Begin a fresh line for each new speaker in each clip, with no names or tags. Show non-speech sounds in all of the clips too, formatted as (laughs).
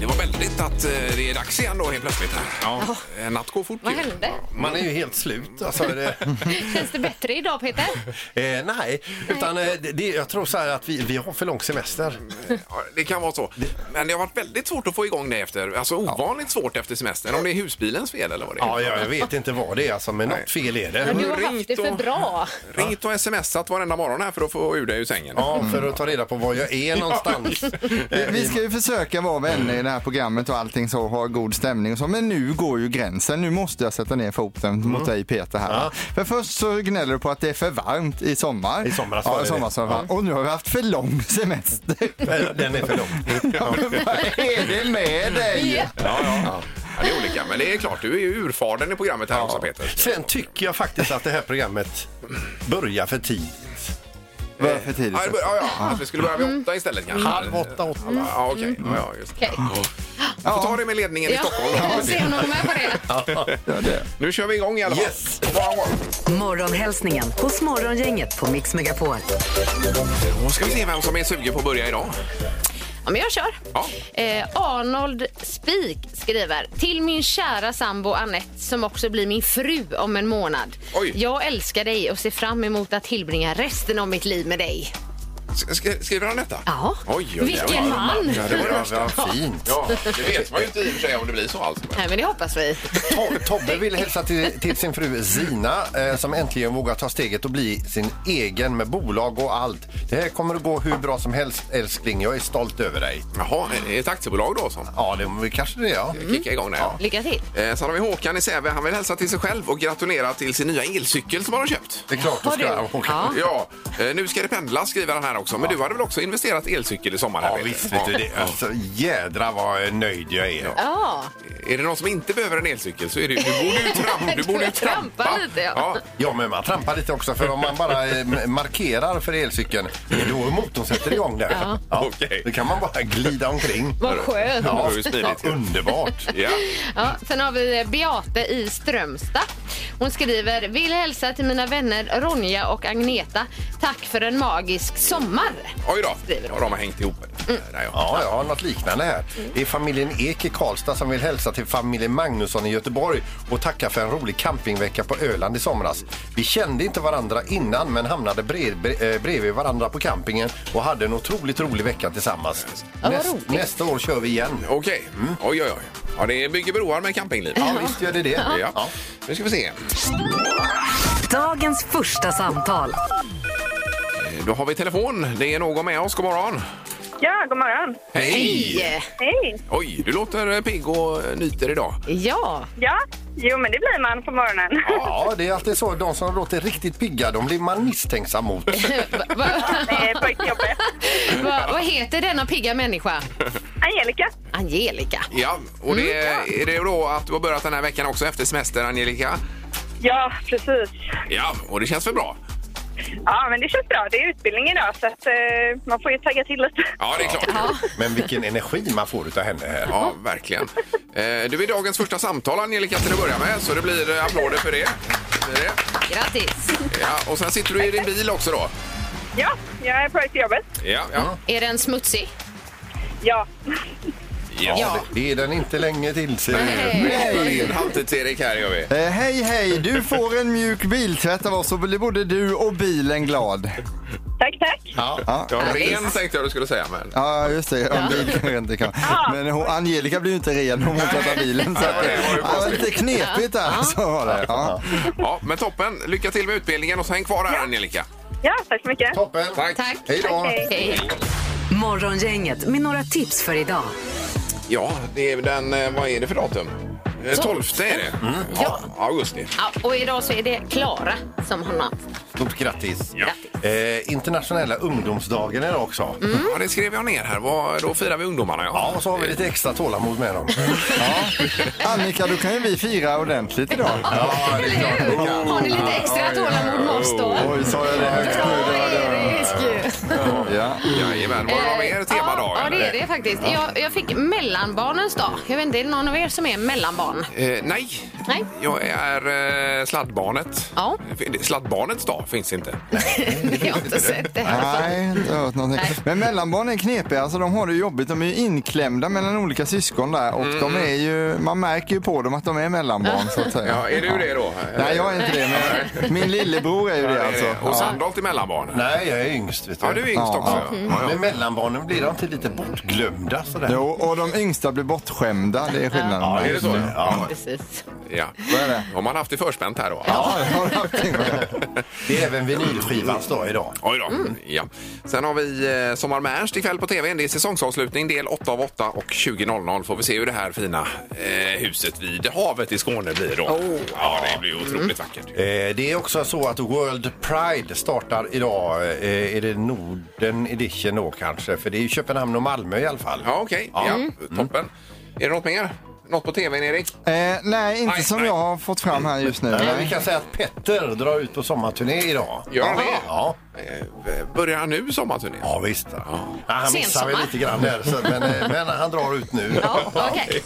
Det var väldigt att eh, det är dags igen då helt plötsligt. här. Ja. En natt går fort
Vad
ju.
hände?
Man är ju helt (laughs) slut. Alltså, det,
(laughs) Känns det bättre idag Peter?
eh, nej, utan eh, det, det, jag tror så här att vi, vi har för lång semester.
Ja, Det kan vara så. Men det har varit väldigt svårt att få igång det efter. Alltså ovanligt svårt efter semestern. Om det är husbilens fel eller vad det är.
Ja, jag, jag vet inte vad det är alltså, men något fel är
Men
det.
du har haft det för bra.
Ringt och smsat varenda morgon här för att få ur dig ur sängen.
Ja, för att ta reda på var jag är någonstans.
Vi- Vi ska ju försöka vara vänner i det här programmet och allting så, ha god stämning och så. Men nu går ju gränsen. Nu måste jag sätta ner foten
Mm.
mot dig Peter här. För först så gnäller du på att det är för varmt i sommar.
I somras var
ja,
det
i somras var det. varmt. Och nu har vi haft för lång semester.
Eh, Den är för (laughs) lång. (laughs) Ja.
(laughs) Vad är det med dig?
Ja, ja. ja, det är olika. Men det är klart, du är ju urfadern i programmet här också Peter.
Sen tycker jag faktiskt att det här programmet börjar för tidigt.
Vad är det för tidigt?
Ja, det bör- ja, ja. Att vi skulle börja vid åtta istället kanske.
Halv åtta, åtta.
Ja, okej. Ja, ja, just det.
Okej.
Ja. Får ta det med ledningen i Stockholm då.
jag ser honom med på det.
Nu kör vi igång i alla fall.
Yes.
Wow, wow.
Morgonhälsningen hos Morgongänget på Mix Megapol.
Då ska vi se vem som är sugen på att börja idag.
Ja, men jag kör.
Ja.
Eh, Arnold Spik skriver till min kära sambo Annette som också blir min fru om en månad.
Oj.
Jag älskar dig och ser fram emot att tillbringa resten av mitt liv med dig.
Sk- sk- Skriver han detta?
Ja,
Oj, oj, oj.
vilken man!
Ja, det var det
Ja,
(laughs)
värsta.
vad fint.
Ja, det vet man ju inte i och för sig om det blir så alls.
Nej, men det hoppas vi.
To- Tobbe vill hälsa till, till sin fru Zina eh, som äntligen vågar ta steget och bli sin egen med bolag och allt. Det här kommer att gå hur bra som helst älskling. Jag är stolt över dig.
Jaha, är det ett aktiebolag då som
Ja, det kanske det är. Ja.
Mm.
kickar igång det? Ja.
Lycka till.
Eh, Sen har vi Håkan i Säve. Han vill hälsa till sig själv och gratulera till sin nya elcykel som han har köpt.
Det är klart du
Har du?
ska åka.
Ja.
(laughs) Ja, eh, nu ska det pendla skriver han här också. Men du hade väl också investerat i elcykel i sommar? här,
Ja,
Peter?
visst vet du det. Alltså, jädra vad nöjd jag är.
Ja,
Är det någon som inte behöver en elcykel så är det ju... Du borde ju,
(laughs)
tramp, du
Du
borde ju
trampar
trampa.
lite, ja.
Ja, men man trampar lite också för om man bara eh, m- markerar för elcykeln, då motorn sätter igång där. Ja.
Okej.
Då kan man bara glida omkring.
vad skönt.
Ja, det var ju
Ja,
smidigt.
underbart.
Ja.
Ja, sen har vi Beate i Strömstad. Hon skriver Vill hälsa till mina vänner Ronja och Agneta. Tack för en magisk sommar.
Oj då,
Skriver
ja, de har hängt ihop. Där, ja.
Ja, jag har något liknande här. Det är familjen Ek i Karlstad som vill hälsa till familjen Magnusson i Göteborg och tacka för en rolig campingvecka på Öland i somras. Vi kände inte varandra innan men hamnade brev, bre- eh, bredvid varandra på campingen och hade en otroligt rolig vecka tillsammans.
vad
Näst,
roligt.
nästa år kör vi igen.
Okej, Mm. oj oj oj. Ja, det bygger broar med campingliv.
Ja, visst gör det det.
Ja.
Ja.
Nu ska vi se.
Dagens första samtal.
Eh, Då har vi telefon. Det är någon med oss. God morgon.
Ja, god morgon.
Hej!
Hej!
Hej.
Oj, du låter eh, pigg och eh, nyter idag.
Ja,
Ja, jo men det blir man på morgonen.
Ja, det är alltid så. De som låter riktigt pigga, de blir man misstänksam mot.
va, va,
Eh, På jobbet.
va, vad heter denna pigga människa?
Angelica.
Angelica.
Ja, och det är det då att du har börjat den här veckan också efter semester, Angelica?
Ja, precis.
Ja, och det känns väl bra?
Ja, men det känns bra. Det är utbildning idag så att eh, man får ju tagga till lite.
Ja, det är klart. Ja,
Men vilken energi man får utav henne här.
verkligen. Eh, Du är dagens första samtal, Angelica, till att börja med, så det blir eh, applåder för det. Det är det.
Grattis!
Ja, och sen sitter du i din bil också då?
Ja, jag är på väg till jobbet.
Ja, ja.
Är den smutsig?
Ja.
Ja, det det är den inte länge till. ser du.
Nej! Halvtids-Erik här gör vi.
Eh, hej hej, du får en mjuk biltvätt av oss så blir både du och bilen glad.
Tack, tack.
Ja, ren tänkte jag du skulle säga, men...
Ja, just det. Om bil kanske inte kan. Men hon, Angelica blir ju inte ren om hon tvättar bilen. Så
Nej,
att,
det var ju
det var lite knepigt där. Så var det. Ja.
Ja, men toppen. Lycka till med utbildningen och så häng kvar här, Angelica.
Ja, tack så mycket.
Toppen!
Tack.
Hej då!
Hej.
Hej.
Morgongänget med några tips för idag.
Ja, det är den... eh, Vad är det för datum? Eh, 12 är det.
Mm.
Ja, augusti.
Ja, och idag så är det Klara som har namn.
Stort grattis!
Grattis.
Eh, internationella ungdomsdagen är det också.
Ja, det skrev jag ner här. Vad- Då firar vi ungdomarna,
Ja, och så har vi lite extra tålamod med dem.
Annika, då kan ju vi fira ordentligt idag.
ja, det är klart.
Har ni lite extra tålamod med oss då?
Oj, sa jag det högt nu?
Bra, Erik!
Ja.
Jajamän. Vad har vi mer
Ja,
temadag?
Eh, Ja, det det är det faktiskt. Jag, jag fick mellanbarnens dag. Jag vet inte, är det någon av er som är
(laughs)
mellanbarn?
Eh, nej.
Nej.
jag är eh, sladdbarnet.
Ja.
Sladdbarnets dag finns inte.
jag har inte sett det här.
Nej, inte hört någonting.
Nej.
Men mellanbarn är knepiga, alltså de har det jobbigt. De är ju inklämda mellan olika syskon där och
Mm.
de är ju, man märker ju på dem att de är mellanbarn så att säga.
Ja, är du det då?
Nej, jag är inte det, men min lillebror är ju det alltså.
Och Sandholt är mellanbarn.
Nej, jag är yngst. Vet du.
Ja, du är yngst
Ja,
också. Ja,
Men mellanbarnen blir de inte lite bortglömda sådär?
Jo, och de yngsta blir bortskämda, det är skillnaden.
Ja,
Är det så?
Ja.
(laughs) Precis.
ja.
Vad är det?
Har man haft det förspänt här då?
Ja, det har du haft en gång.
Det är även vinylskivans dag idag.
Oj då. Ja. Sen har vi eh, Sommar med Ernst ikväll på tv. Det är säsongsavslutning del 8 av 8 och 20.00 får vi se hur det här fina eh, huset vid havet i Skåne blir då. Ja, det blir ju otroligt vackert.
Eh, Det är också så att World Pride startar idag. Eh, Är det Norden edition då kanske? För det är ju Köpenhamn och Malmö i alla fall.
Ja, okej. Ja, Toppen. Är det något mer? Något på tvn, Erik?
Eh, nej, inte
Nej,
som
nej.
jag har fått fram här just nu.
Men Eh, vi
Nej.
kan säga att Petter drar ut på sommarturné idag.
Gör han det?
Ja.
Eh, Börjar han nu sommarturnén?
Ja visst. Ja, han missar väl
Sensommar.
lite grann där, så, men, eh, men han drar ut nu.
Ja, okej.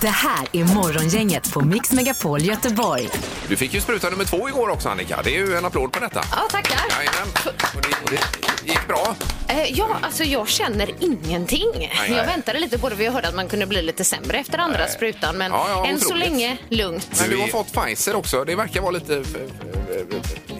Det här är Morgongänget på Mix Megapol Göteborg.
Du fick ju spruta nummer två igår också, Annika. Det är ju en applåd på detta.
Ja, tackar.
Jajamän. Och det, det gick bra.
Eh, Ja, alltså jag känner ingenting.
nej.
Jag väntade lite på det, för jag hörde att man kunde bli lite sämre efter andra sprutan. Men
Ja, ja,
än så
otroligt.
länge lugnt.
Men du har
är-
fått Pfizer också. Det verkar vara lite...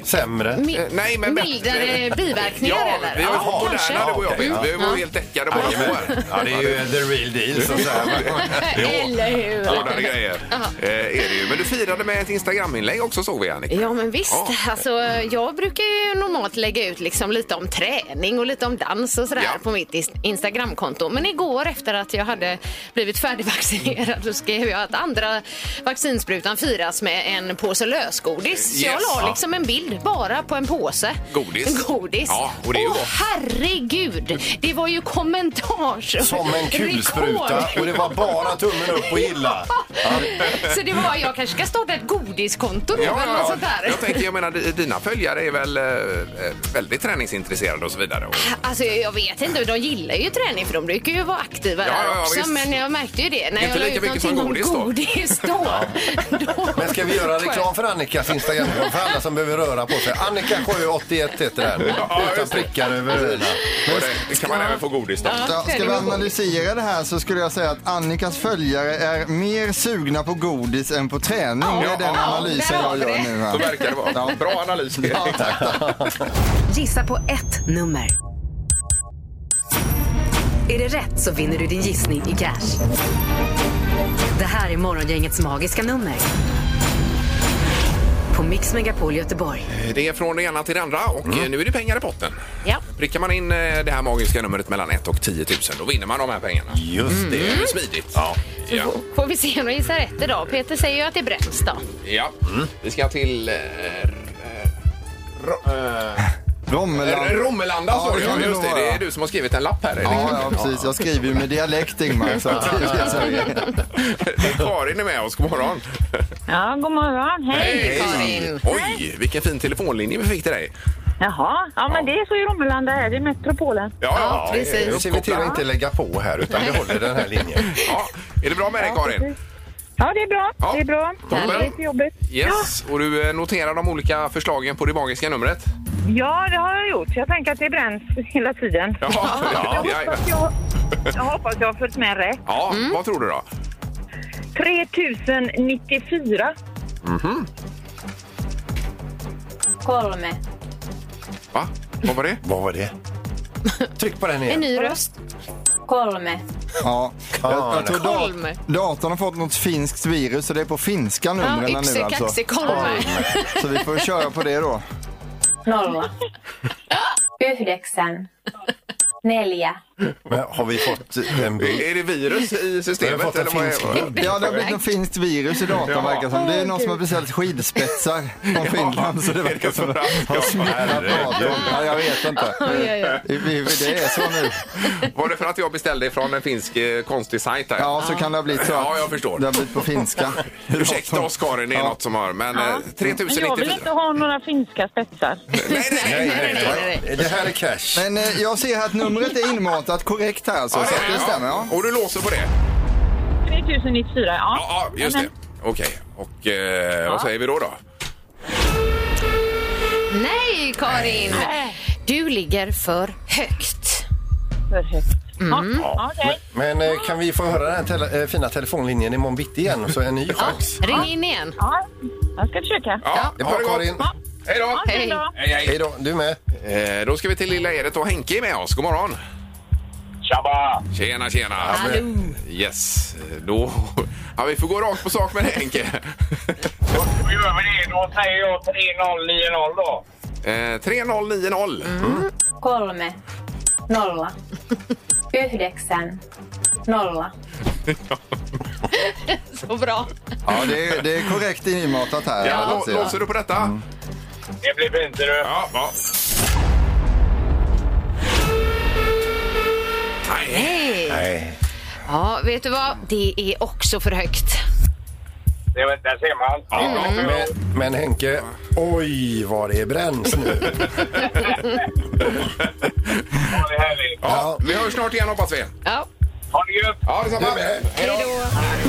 Sämre.
Mi-
Eh, nej, men bättre.
Mildare biverkningar
Ja,
eller?
vi har ju
Ja,
fått
kanske.
moderna, du och jag.
okej.
Peter. Vi var ju helt däckade båda två här.
Ja, det är ju the real deal så att säga.
Eh, Eller hur?
Hårdare grejer eh, är det ju. Men du firade med ett Instagram-inlägg också såg vi Annika.
Ja men visst,
Ja.
alltså, jag brukar ju normalt lägga ut liksom lite om träning och lite om dans och sådär
Ja.
på mitt is- Instagramkonto. Men igår efter att jag hade blivit färdigvaccinerad så skrev jag att andra vaccinsprutan firas med en påse lösgodis. Så jag
Yes.
la liksom en bild bara på en påse.
Godis.
Godis.
Ja, och det är ju
Åh,
gott.
herregud, det var ju kommentars.
Som en kulspruta
rekord.
och det var bara tummen upp och gilla.
Så det var, jag kanske ska starta ett godiskonto då eller något sånt där.
Jag tänker, jag menar di- dina följare är väl eh, eh, väldigt träningsintresserade och så vidare. Och,
Alltså jag jag vet inte, de gillar ju träning för de brukar ju vara aktiva
Ja,
där
ja, ja,
också.
visst.
Men jag märkte ju det när
Inte
jag la
lika
ut
mycket som
någonting om
godis
godis
(laughs)
då. då.
Men ska vi göra reklam för Annikas Instagramkonto för alla som behöver röra på sig? Annika Sjö 81 heter den. Utan prickar över öarna.
och det, det kan man även få godis då.
Ja, ska vi analysera det här så skulle jag säga att Annikas följare är mer sugna på godis än på träning. Det är den
Ja,
analysen
där har
jag
vi
gör
det.
nu.
Så
Här.
verkar det vara. Bra analys. Erik.
Gissa på ett nummer. Är det rätt så vinner du din gissning i cash. Det här är Morgongängets magiska nummer. På Mix Megapol Göteborg.
Det är från det ena till det andra och eh, nu är det pengar i potten.
Mm. Ja.
Prickar man in eh, det här magiska numret mellan 1 och 10 000 då vinner man de här pengarna.
Just
Det
det.
är ju smidigt. Ja.
Så
Ja.
får- får vi se om de gissar rätt idag. Peter säger ju att det är Bränsta.
Mm.
Vi ska till... Eh,
Romeland.
R- Romelanda
Ja,
sa du
det kan
ja,
det
just det.
vara.
Det är du som har skrivit en lapp här. Erik.
Ja, ja, precis. Jag skriver ju med dialekt, Ingmar. Så att
(laughs) Det är Karin är med oss. God morgon.
Ja, god morgon. Hej.
Karin.
Oj, vilken fin telefonlinje vi fick till dig.
Jaha, ja, men det är så i Romelanda här. Det är metropolen.
Ja,
Ja, precis.
eh,
Nu ser vi till att inte lägga på här utan vi håller den här linjen.
(laughs) Ja. Är det bra med dig Karin?
Ja, det är bra.
Ja.
Det är bra.
Toppen.
Det är till jobbet.
Yes. Och du eh, noterar de olika förslagen på det magiska numret?
Ja, det har jag gjort. Jag tänker att det bränns hela tiden.
Ja. ja. Mm.
Jag
ja.
hoppas jag, jag, hoppas jag har följt med rätt.
ja. Vad tror du då?
3094.
Mhm. Va? Vad var det?
Vad var det? Tryck på den
En
igen.
ny röst.
(laughs) Ja, jag, jag tror
Kolm.
dat- datorn har fått något finskt virus så det är på finska
Ja,
numren nu
yxe,
alltså.
kaxe, kolm.
Så vi får köra på det då.
(laughs)
Yhdeksän. Neljä.
Men har vi fått en bild?
Är det virus (laughs) i
Har vi
systemet?
fått en
Eller vad
finsk
är
bild?
Ja, det har blivit något finskt virus i datorn
Ja.
verkar som. Det är någon som har beställt skidspetsar från Finland så det verkar som att de har smittat datorn. Ja, jag vet inte. Det det är så nu.
Var det för att jag beställde från en finsk eh, konstig sajt? Här?
Ja, så kan det ha blivit så.
Ja, jag förstår.
Det har blivit på finska.
Ursäkta oss Karin, det är något som har... Men eh,
Men jag vill
3094.
inte ha några finska spetsar.
Nej, nej, nej.
Nej, nej, nej.
Det här är cash.
Men eh, jag ser här att Numret är inmatat korrekt här alltså, så
det är
att det stämmer. Ja.
Och du låser på det?
3094, ja.
Ja, ja just det. Okej, och eh, vad säger vi då? då?
Nej, Karin! Du ligger för högt.
För högt.
Mm.
Ja, okej.
Men eh, kan vi få höra den här tele eh, fina telefonlinjen imorgon bitti igen så en ny chans?
Ring in igen.
Ja, jag ska försöka.
Ja,
Det är
ha
bra
det gott.
Karin.
Hej då!
Hej.
Hej, hej.
Hej då, du med.
Eh, då ska vi till Lilla Edet och Henke är med oss. God morgon!
Tjabba!
Tjena, tjena!
Hallå.
Yes, då... Ja, vi får gå rakt på sak med det, Henke.
Då gör vi det. Då säger jag 3090 då.
Eh, 3090.
kolme, nolla, yhdeksän, nolla,
(laughs) Så bra.
Ja, det är, det är korrekt inmatat här.
Ja,
alltså.
lå- låser du på detta?
Det blir fint du.
Ja, ja. Nej.
Hej.
Nej.
Ja, vet du vad? Det är också för högt.
Det vet- Där ser man.
Men, men Henke, oj vad det bränns
(laughs)
nu.
Ja, det är härligt.
Ja, vi hörs snart igen hoppas vi.
Ja.
Ha det gött!
Ja, detsamma.
Du med.
Hej då.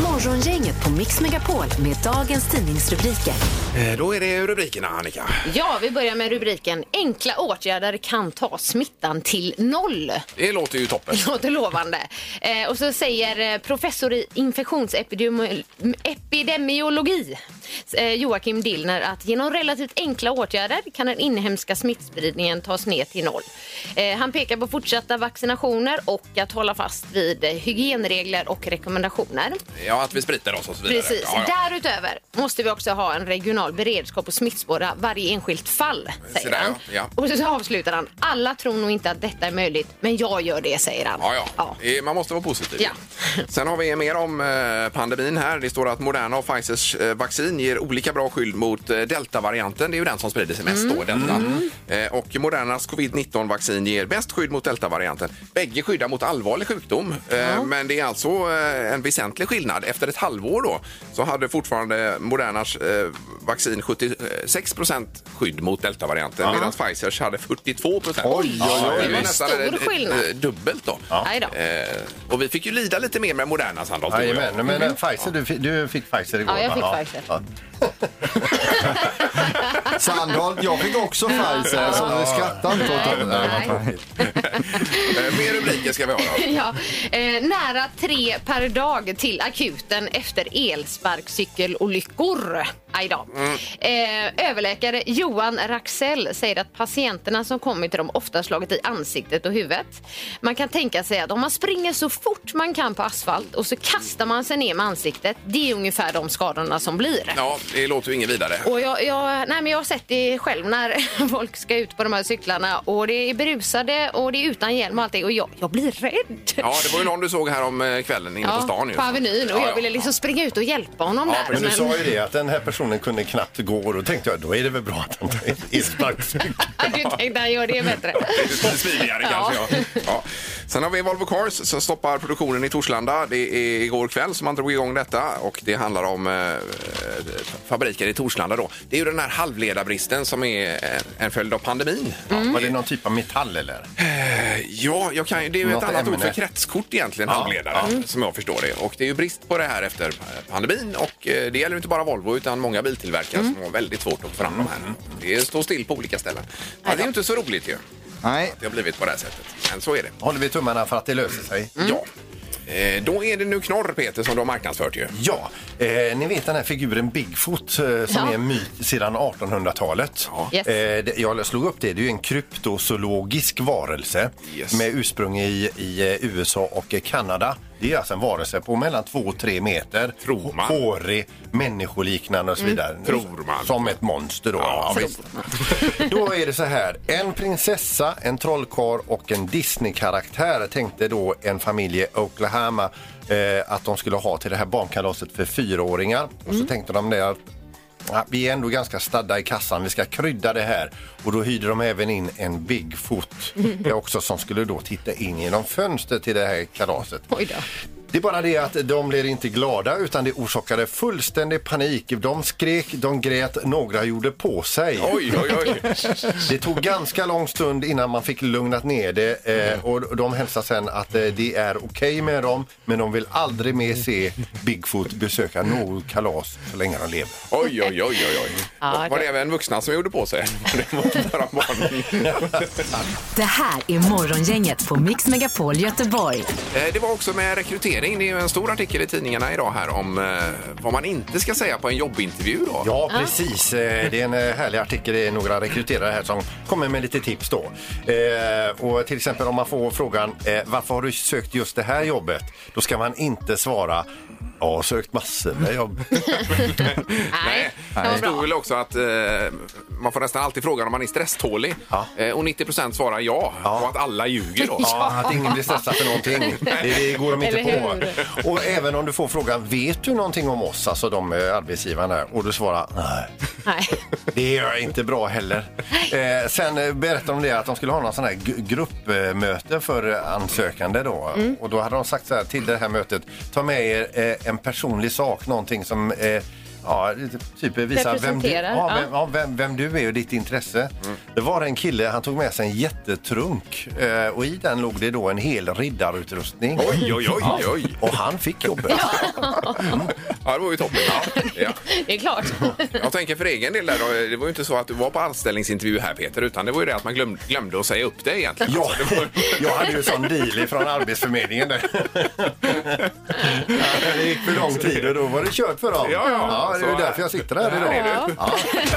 Morgongänget på Mix Megapol med dagens tidningsrubriker.
Eh, Då är det rubrikerna, Annika.
ja, vi börjar med rubriken Enkla åtgärder kan ta smittan till noll.
Det låter ju toppen.
(laughs) Låter lovande. Eh, och så säger eh, professor i infektionsepidemiologi eh, Joakim Dillner att genom relativt enkla åtgärder kan den inhemska smittspridningen tas ner till noll. Eh, han pekar på fortsatta vaccinationer och att hålla fast vid eh, hygienregler och rekommendationer.
Ja, att vi spritar oss och så vidare.
Precis.
Ja, ja.
Därutöver måste vi också ha en regional beredskap och smittspåra varje enskilt fall, säger
där,
han.
ja.
Och så avslutar han. Alla tror nog inte att detta är möjligt, men jag gör det, säger han.
Ja, ja. Eh, Man måste vara positiv.
Ja.
Sen har vi mer om eh, pandemin här. Det står att Moderna och Pfizers eh, vaccin ger olika bra skydd mot eh, deltavarianten. Det är ju den som sprider sig mest då, delta. Eh, Och Modernas covid-19-vaccin ger bäst skydd mot deltavarianten. Bägge skyddar mot allvarlig sjukdom. Eh, Men det är alltså eh, en väsentlig skillnad. Efter ett halvår då så hade fortfarande Modernas eh, vaccin 76 procent skydd mot deltavarianten medan Pfizers hade 42 procent.
Oj, oj, oj.
Det var stor skillnad.
Dubbelt då.
Aj då.
Eh, och vi fick ju lida lite mer med Moderna Sandholt. du och jag.
Jajamän, men eh, Pfizer, du, fi- du fick Pfizer igår
Ja, jag
va?
fick Pfizer.
Ja.
Sandholt, jag fick också Pfizer, så skratta inte åt det.
Nej.
Nej.
Eh, mer rubriker ska vi ha.
(laughs)
då.
Ja, eh, nära tre per dag till akuten efter elsparkcykelolyckor. Aj då. Eh, överläkare Johan Raxell säger att patienterna som kommit till dem ofta slagit i ansiktet och huvudet. Man kan tänka sig att om man springer så fort man kan på asfalt och så kastar man sig ner med ansiktet, det är ungefär de skadorna som blir.
Ja, det låter ju inget vidare.
Och jag, jag, nej men jag har sett det själv när (laughs) folk ska ut på de här cyklarna och det är berusade och det är utan hjälm och allt det och jag, jag blir rädd.
Ja, det var ju någon du såg här om eh, kvällen inne på stan. ju.
på Avenyn och
Ja,
jag ville
ja.
liksom springa ut och hjälpa honom
Ja,
där.
Men du
(laughs)
sa ju det att den här personen kunde knappt gå och då tänkte jag då är det väl bra att han tar
(laughs)
elsparkcykeln.
du tänkte han gör det bättre.
Lite (laughs) smidigare kanske. Ja. (laughs) Ja. Sen har vi Volvo Cars som stoppar produktionen i Torslanda. Det är igår kväll som man drog igång detta och det handlar om eh, fabriker i Torslanda då. Det är ju den här halvledarbristen som är en- en följd av pandemin.
Mm.
Var det någon typ av metall eller?
Ja, jag kan, ju- det är ju
Något
ett annat ord
ämne.
för kretskort egentligen,
Ja, Mm.
halvledare, som jag förstår det. Och det är ju brist på det här efter pandemin och eh, det gäller ju inte bara Volvo utan många biltillverkare
Mm.
som har väldigt svårt att få fram de här. Det står still på olika ställen. Ja, det är ju inte så roligt ju,
Nej.
det har blivit på det här sättet. Men så är det.
Håller vi tummarna för att det löser sig?
Ja. Eh, Då är det nu knorr, Peter, som du har marknadsfört ju.
Ja, eh, ni vet den här figuren Bigfoot eh, som
Ja.
är en myt sedan 1800-talet.
Yes.
Eh, det- jag slog upp det, det är ju en kryptozoologisk varelse
Yes.
med ursprung i, i eh, USA och eh, Kanada. Det är alltså en varelse på mellan 2 och 3 meter.
Tror man.
Hårig, människoliknande och så vidare.
Tror man.
Som ett monster då. Ja, visst. Då är det så här. En prinsessa, en trollkarl och en Disney-karaktär tänkte då en familj i Oklahoma eh, att de skulle ha till det här barnkalaset för fyraåringar. Och så tänkte de det att ja, vi är ändå ganska stadda i kassan, vi ska krydda det här. Och då hyrde de även in en (laughs) Bigfoot eh, också som skulle då titta in genom fönstret till det här kalaset.
Oj då.
Det är bara det att de blev inte glada utan det orsakade fullständig panik. De skrek, de grät, några gjorde på sig.
Oj, oj, oj.
Det tog ganska lång stund innan man fick lugnat ner det eh, och de hälsar sen att eh, det är okej med dem men de vill aldrig mer se Bigfoot besöka något kalas så länge de lever.
Oj, oj, oj, oj. oj.
Ja,
var det
det-
även vuxna som gjorde på sig? (laughs) Det var bara barn.
(laughs)
Det här är Morgongänget på Mix Megapol Göteborg.
Eh, Det var också med rekrytering. Det är ju en stor artikel i tidningarna idag här om eh, vad man inte ska säga på en jobbintervju. Då.
Ja, precis. Eh, Det är en eh, härlig artikel. Det är några rekryterare här som kommer med lite tips då. Eh, och till exempel om man får frågan eh, varför har du sökt just det här jobbet? Då ska man inte svara jag har sökt massor med jobb.
Nej.
Det stod väl också att eh, man får nästan alltid frågan om man är stresstålig.
Ja.
Eh, och 90 svarar ja, och att alla ljuger då.
Ja, att ingen blir stressad för någonting. Det, det går de inte
Eller
på. Och även om du får frågan, vet du någonting om oss, alltså de eh, arbetsgivarna, där? och du svarar nej.
Nej.
Det är inte bra heller. Eh, sen eh, berättade de det att de skulle ha någon sån här gu- gruppmöte för eh, ansökande då. Och då hade de sagt så här till det här mötet. Ta med er eh, en personlig sak, någonting som eh, Ja, typ visar vem du,
Representerar,
ja,
ja.
vem, ja, vem, vem du är och ditt intresse.
Mm.
Det var en kille, han tog med sig en jättetrunk eh, och i den låg det då en hel riddarutrustning.
Oj, oj, oj, oj.
Och han fick jobbet.
Ja, det var ju toppen. Ja.
Det är klart.
Jag tänker för egen del där, då, det var ju inte så att du var på anställningsintervju här Peter, utan det var ju det att man glöm, glömde att säga upp dig egentligen.
Ja,
Alltså, det var,
(laughs) jag hade ju sån deal från Arbetsförmedlingen där. Ja, Det gick för lång tid och då var det kört för dem.
Ja, ja.
det är ju
Så-
därför jag sitter här
Där är
idag.
du.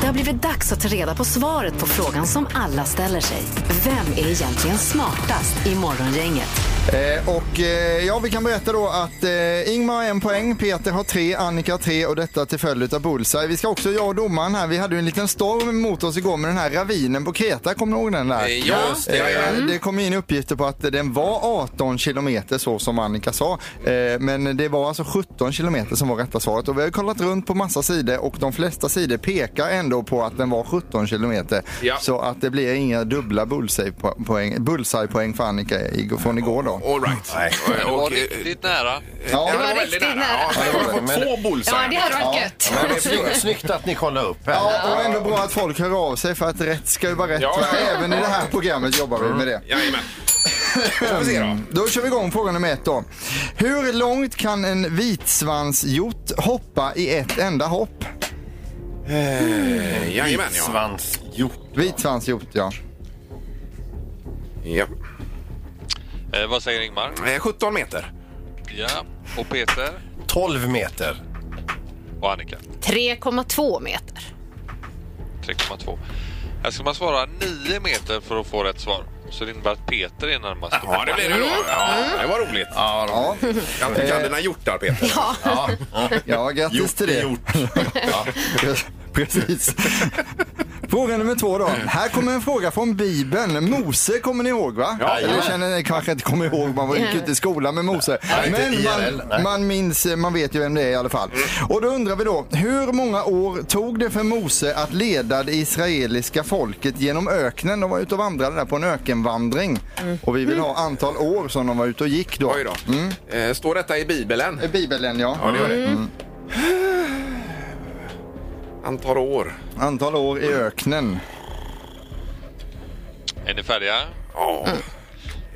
Det har blivit dags att ta reda på svaret på frågan som alla ställer sig. Vem är egentligen smartast i Morgongänget?
Eh, och eh, ja, vi kan berätta då att eh, Ingmar har en poäng, Peter har tre, Annika har tre och detta till följd av bullseye. Vi ska också, jag och domaren här, vi hade ju en liten storm mot oss igår med den här ravinen på Kreta, kommer ni ihåg den där?
Eh, ja, just det, ja, ja.
Eh, Det kom in uppgifter på att den var 18 kilometer så som Annika sa. Eh, Men det var alltså 17 kilometer som var rätta svaret. Och vi har ju kollat runt på massa sidor och de flesta sidor pekar ändå på att den var 17 kilometer.
Ja.
Så att det blir inga dubbla bullseye-poäng bullseye-poäng för Annika ig- från igår då.
All right. Och, och, eh,
nära.
Ja,
ja,
var
väldigt
riktigt nära.
Ja, jag har fått
Men-
två bullseye.
Ja, det hade varit gött.
Men det är snyggt- snyggt att ni kollar upp här.
Ja, och ändå bra att folk hör av sig för att rätt ska ju vara rätt.
Ja, ja, ja.
Även i det här programmet jobbar vi med det. Mm.
Jajamän. Då får vi se då.
Då kör vi igång fråga nummer ett då. Hur långt kan en vitsvansjort hoppa i ett enda hopp?
Eh, Jajamän, ja.
Svansjort.
Vitsvansjort, ja.
ja.
Eh, vad säger Ingmar?
Eh, 17 meter.
Ja. Och Peter?
12 meter.
Och Annika?
3,2 meter.
3,2. Här ska man svara 9 meter för att få rätt svar. Så det innebär att Peter är närmast.
Ja, det blir det då. Mm. Ja, det var roligt.
Ja,
Att du kan dina hjortar, Peter. Ja.
ja grattis till det. Precis. Fråga nummer två då. Här kommer en fråga från Bibeln. Mose kommer ni ihåg va?
Ja,
Eller
jajamän.
känner ni kanske inte kommer ihåg, man var ju inte ute i skolan med Mose.
inte
Men
IRL, nej.
man, man minns, man vet ju vem det är i alla fall.
Mm.
Och då undrar vi då, hur många år tog det för Mose att leda det israeliska folket genom öknen? De var ute och vandrade där på en ökenvandring. Och vi vill ha antal år som de var ute och gick då.
Mm. Oj då. Eh, Står detta i Bibeln?
I Bibeln
Ja,
ja.
det gör det. Antal år.
Antal år i öknen.
Är ni färdiga?
Ja.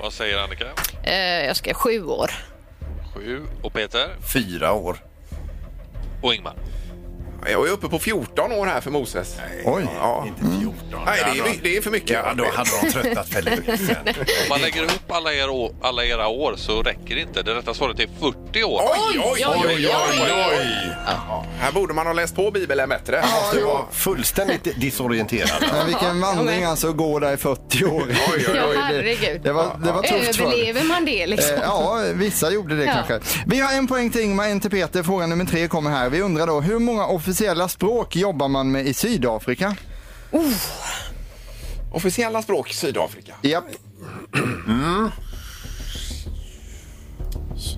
Vad säger Annika?
Eh, jag ska sju år.
7. Och Peter?
Fyra år.
Och Ingmar?
Jag är uppe på 14 år här för Moses. Nej,
Oj.
ja.
Inte 14.
Mm. Nej det, är, my- det är för mycket.
Ja, då hade de tröttnat för länge sedan.
Om man lägger ihop alla, er å- alla era år så räcker det inte. Det rätta svaret är 40 år.
Oj, oj, oj, oj, oj,
Oj!
Här borde man ha läst på Bibeln bättre.
Du var fullständigt disorienterad.
Men vilken vandring alltså, att gå där i 40 år.
Oj, oj,
Ja,
oj.
herregud.
Det var, det var tufft för
Överlever man det
Eh,
liksom?
Ja, vissa gjorde det
Ja.
kanske. Vi har en poäng till Ingmar, en till Peter. Fråga nummer tre kommer här. Vi undrar då, hur många officiella språk jobbar man med i Sydafrika?
Officiella språk i Sydafrika.
Japp,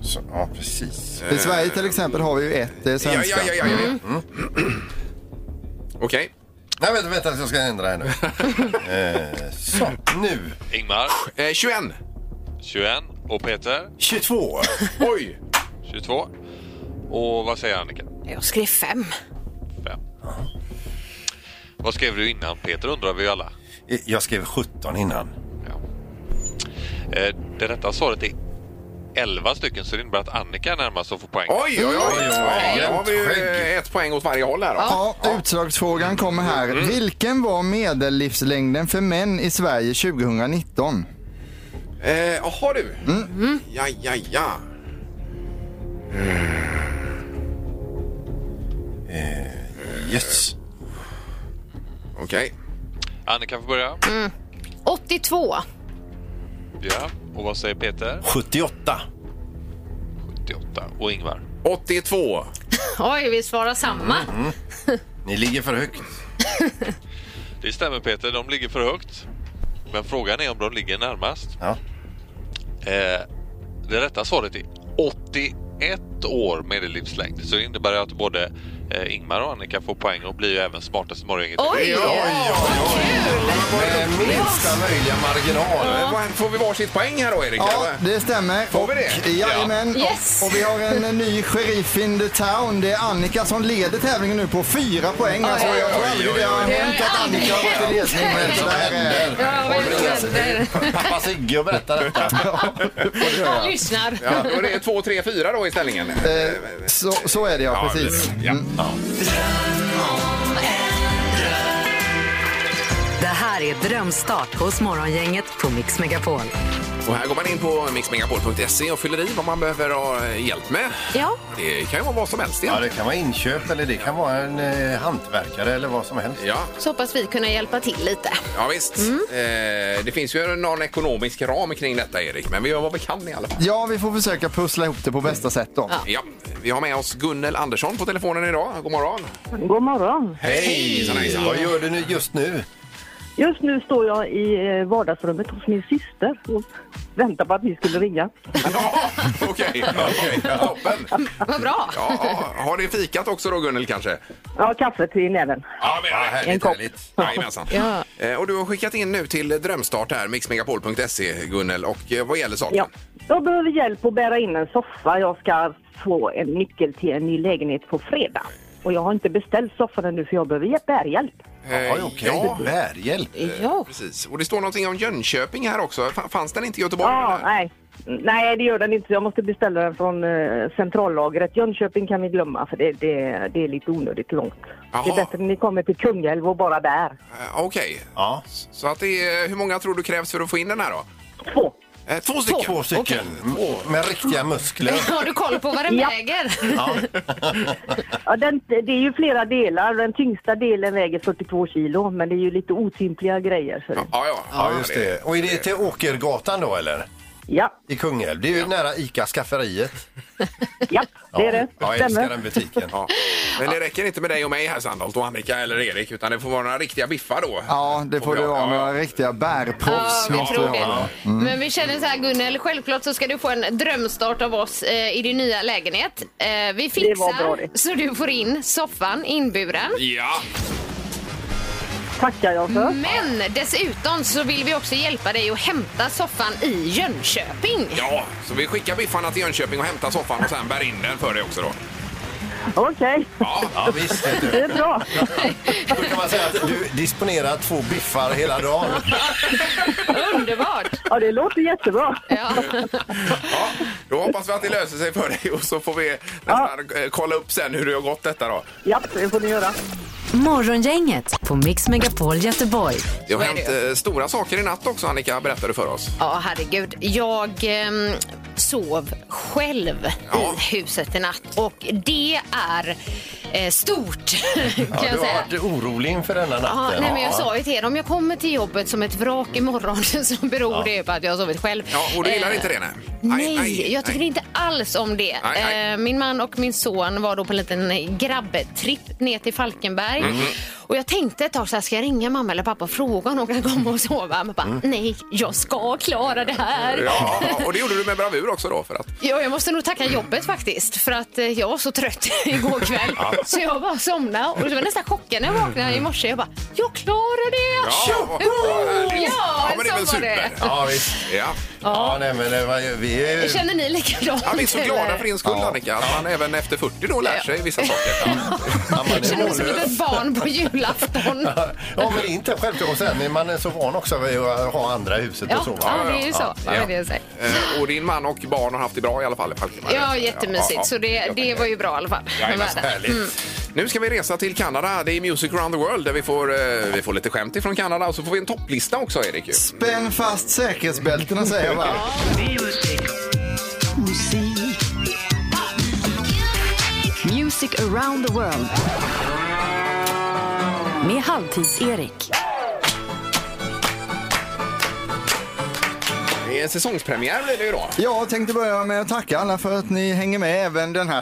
Så, ja, precis.
i Sverige till exempel har vi ju ett, det är
Eh. Ja, ja,
svenska.
ja, ja, ja. Mm. (clears throat) Okej.
Nej, vänta, vänta, jag ska ändra här nu. eh, så, nu.
Ingmar?
Eh, 21.
21. Och Peter?
(laughs) 22.
Oj!
22. Och vad säger Annika?
Jag skrev fem.
5. Vad skrev du innan Peter undrar vi ju alla.
Eh, Jag skrev 17 innan.
Ja. Eh, Det rätta svaret är 11 stycken så det innebär att Annika närmast och får poäng.
Oj, oj, oj!
oj.
Då har vi ju eh, ett poäng åt varje håll här då.
Ja, utslagsfrågan kommer här.
Mm.
Vilken var medellivslängden för män i Sverige 2019?
Eh, Jaha du.
Mm.
Ja, ja, ja.
Eh, Yes.
Okej.
Annika får börja.
82.
Ja. Och vad säger Peter?
78.
78. Och Ingvar?
82.
Oj, vi svarar samma.
Ni ligger för högt.
Det stämmer Peter, de ligger för högt. Men frågan är om de ligger närmast.
Ja.
Eh, det rätta svaret är 81 år medellivslängd. Så det innebär att både eh, Ingmar och Annika får poäng och blir ju även smartast i morgongänget.
Oj!
Med minsta möjliga marginal.
Eh, vad- Får vi varsitt poäng här då, Erik?
Ja,
eller?
det stämmer.
Får vi det?
Och, jajamän.
Yes.
Och, och vi har en ny sheriff in the town. Det är Annika som leder tävlingen nu på fyra poäng. Alltså,
oj,
jag tror
oj,
aldrig
oj,
det har
oj.
hänt att Annika har varit i ledning. Men eh, så där är det.
Ja, vad händer?
Pappa Sigge och berättar detta.
Han lyssnar.
Ja, då är det 2, 3, 4 då i ställningen.
Eh, Så, så är det ja, precis. Mm.
Ja.
Det här är Drömstart hos Morgongänget på Mix Megapol.
Och här går man in på mixmegapol.se och fyller i vad man behöver ha hjälp med.
Ja.
Det kan ju vara vad som helst
Ja,
egentligen.
det kan vara inköp eller det kan vara en eh, hantverkare eller vad som helst.
Ja,
Så hoppas vi kunna hjälpa till lite.
ja visst.
Mm.
Eh, det finns ju någon ekonomisk ram kring detta, Erik, men vi gör vad vi kan i alla fall.
Ja, vi får försöka pussla ihop det på bästa sätt då.
Ja, vi har med oss Gunnel Andersson på telefonen idag. God morgon!
God morgon.
Hej!
Vad gör du nu just nu?
Just nu står jag i eh, vardagsrummet hos min syster och väntar på att ni skulle ringa.
(laughs) Ja, okej. okej. Toppen!
Vad bra.
Ja, ja. har ni fikat också då, Gunnel, kanske?
Ja, kaffet i näven.
Ja, men
En
härligt,
kopp.
härligt. Jajamensan.
Ja.
Eh, Och du har skickat in nu till Drömstart här, mixmegapol.se, Gunnel. Och eh, vad gäller saken?
Ja. Jag behöver hjälp att bära in en soffa. Jag ska få en nyckel till en ny lägenhet på fredag. Och jag har inte beställt soffan ännu för jag behöver hjälp- bärhjälp.
Eh,
Ja, okej.
ja.
Bärhjälp.
Ja.
Precis. Och det står någonting om Jönköping här också. F- Fanns den inte i Göteborg?
Ja,
eller?
nej. Nej, det gör den inte. Jag måste beställa den från eh, centrallagret. Jönköping kan vi glömma för det, det, det är lite onödigt långt.
Jaha.
Det är bättre när ni kommer till Kungälv och bara där.
Eh, Okej.
Ja,
Så att det är, hur många tror du krävs för att få in den här då?
Två.
Eh, två stycken?
två stycken. Mm, Med riktiga muskler.
Har du koll på vad den
Ja.
väger?
Ja, den, det är ju flera delar. Den tyngsta delen väger 42 kilo, men det är ju lite otympliga grejer. Så det.
Ja, ja.
Ja, just det. Och är det till Åkergatan då eller?
Ja,
I Kungälv. Det är ju nära ICA-skafferiet.
ja, det är det.
Ja, jag älskar den butiken.
Ja. Men det räcker inte med dig och mig här Sandholt och Annika eller Erik utan det får vara några riktiga biffar då.
Ja, det får
Och
det
bra.
vara.
Ja,
Några riktiga
Ja,
bärproffs
vi
måste vi
tror
ha.
det. Mm. Men vi känner så här Gunnel, självklart så ska du få en drömstart av oss eh, i din nya lägenhet. Eh, vi
var bra
fixar
det.
så du får in soffan inburen.
Ja,
Tackar jag
Mm.
för.
Men dessutom så vill vi också hjälpa dig att hämta soffan i Jönköping.
ja. Så vi skickar biffarna till Jönköping och hämtar soffan och sen bär in den för dig också då.
Okej,
Ja, visst. vet du.
det är bra.
Då kan man säga att du disponerar två biffar hela dagen.
(laughs) Underbart!
Ja, det låter jättebra.
Ja.
Ja, då hoppas vi att det löser sig för dig och så får vi nästan eh, kolla upp sen hur det har gått detta då.
Ja, det får ni göra.
Morgongänget på Mix Megapol Göteborg.
Det har
Så är
hänt eh, stora saker i natt också Annika, berättade du för oss.
Ja, herregud. Jag ehm, sov själv
Ja.
i huset i natt och det är eh, stort kan
Ja,
jag
du har
säga.
varit orolig inför denna
Ja,
natten.
nej, men jag sa ju till er, om jag kommer till jobbet som ett vrak imorgon (laughs) så beror det på att jag har sovit själv.
Ja, och du gillar
Eh,
inte det nej?
Nej, jag tycker inte alls om det.
Nej, nej.
Eh, Min man och min son var då på en liten grabbtripp ner till Falkenberg.
Mhm.
Och jag tänkte ett tag så här, ska jag ringa mamma eller pappa och fråga om de kan komma och sova? Men bara, nej, jag ska klara det här.
Mm. Ja, och det gjorde du med bravur också då för att
Ja, jag måste nog tacka jobbet faktiskt för att eh, jag var så trött (laughs) igår kväll. Så jag bara somnade och det var nästan chocken när jag vaknade i morse. Jag bara, jag klarar det!
Ja, vad- vad
Oh,
härligt.
ja,
Ja, men det är väl
så var
super.
det.
Ja, visst.
Ja,
Ja, nej, men det var ju- vi är ju...
Känner ni likadant?
Ja, vi är så glada för din skull,
Ja.
Annika, att man även efter 40 då lär sig vissa saker.
Ja, man är
Känner mig som ett
mållös.
litet barn på julafton.
Ja, men det är inte självklart. Och sen är man så van också vid att ha andra i huset
Ja,
och så. va?
ja, det är ju så.
Ja,
Det är det jag säger.
Eh, Och din man och barn har haft det bra i alla fall. i Falkenberg.
Ja, jättemysigt. Så det,
jag
det
tänker.
var ju bra i alla fall.
Jajamän,
Det var det.
Härligt.
Nu ska vi resa till Kanada. Det är Music around the world där vi får, eh, vi får lite skämt ifrån Kanada och så får vi en topplista också, Erik. ju.
Spänn fast säkerhetsbältena säger jag bara.
Music around the world. Med Halvtids-Erik.
Det är en säsongspremiär blir det ju då.
Jag tänkte börja med att tacka alla för att ni hänger med även den här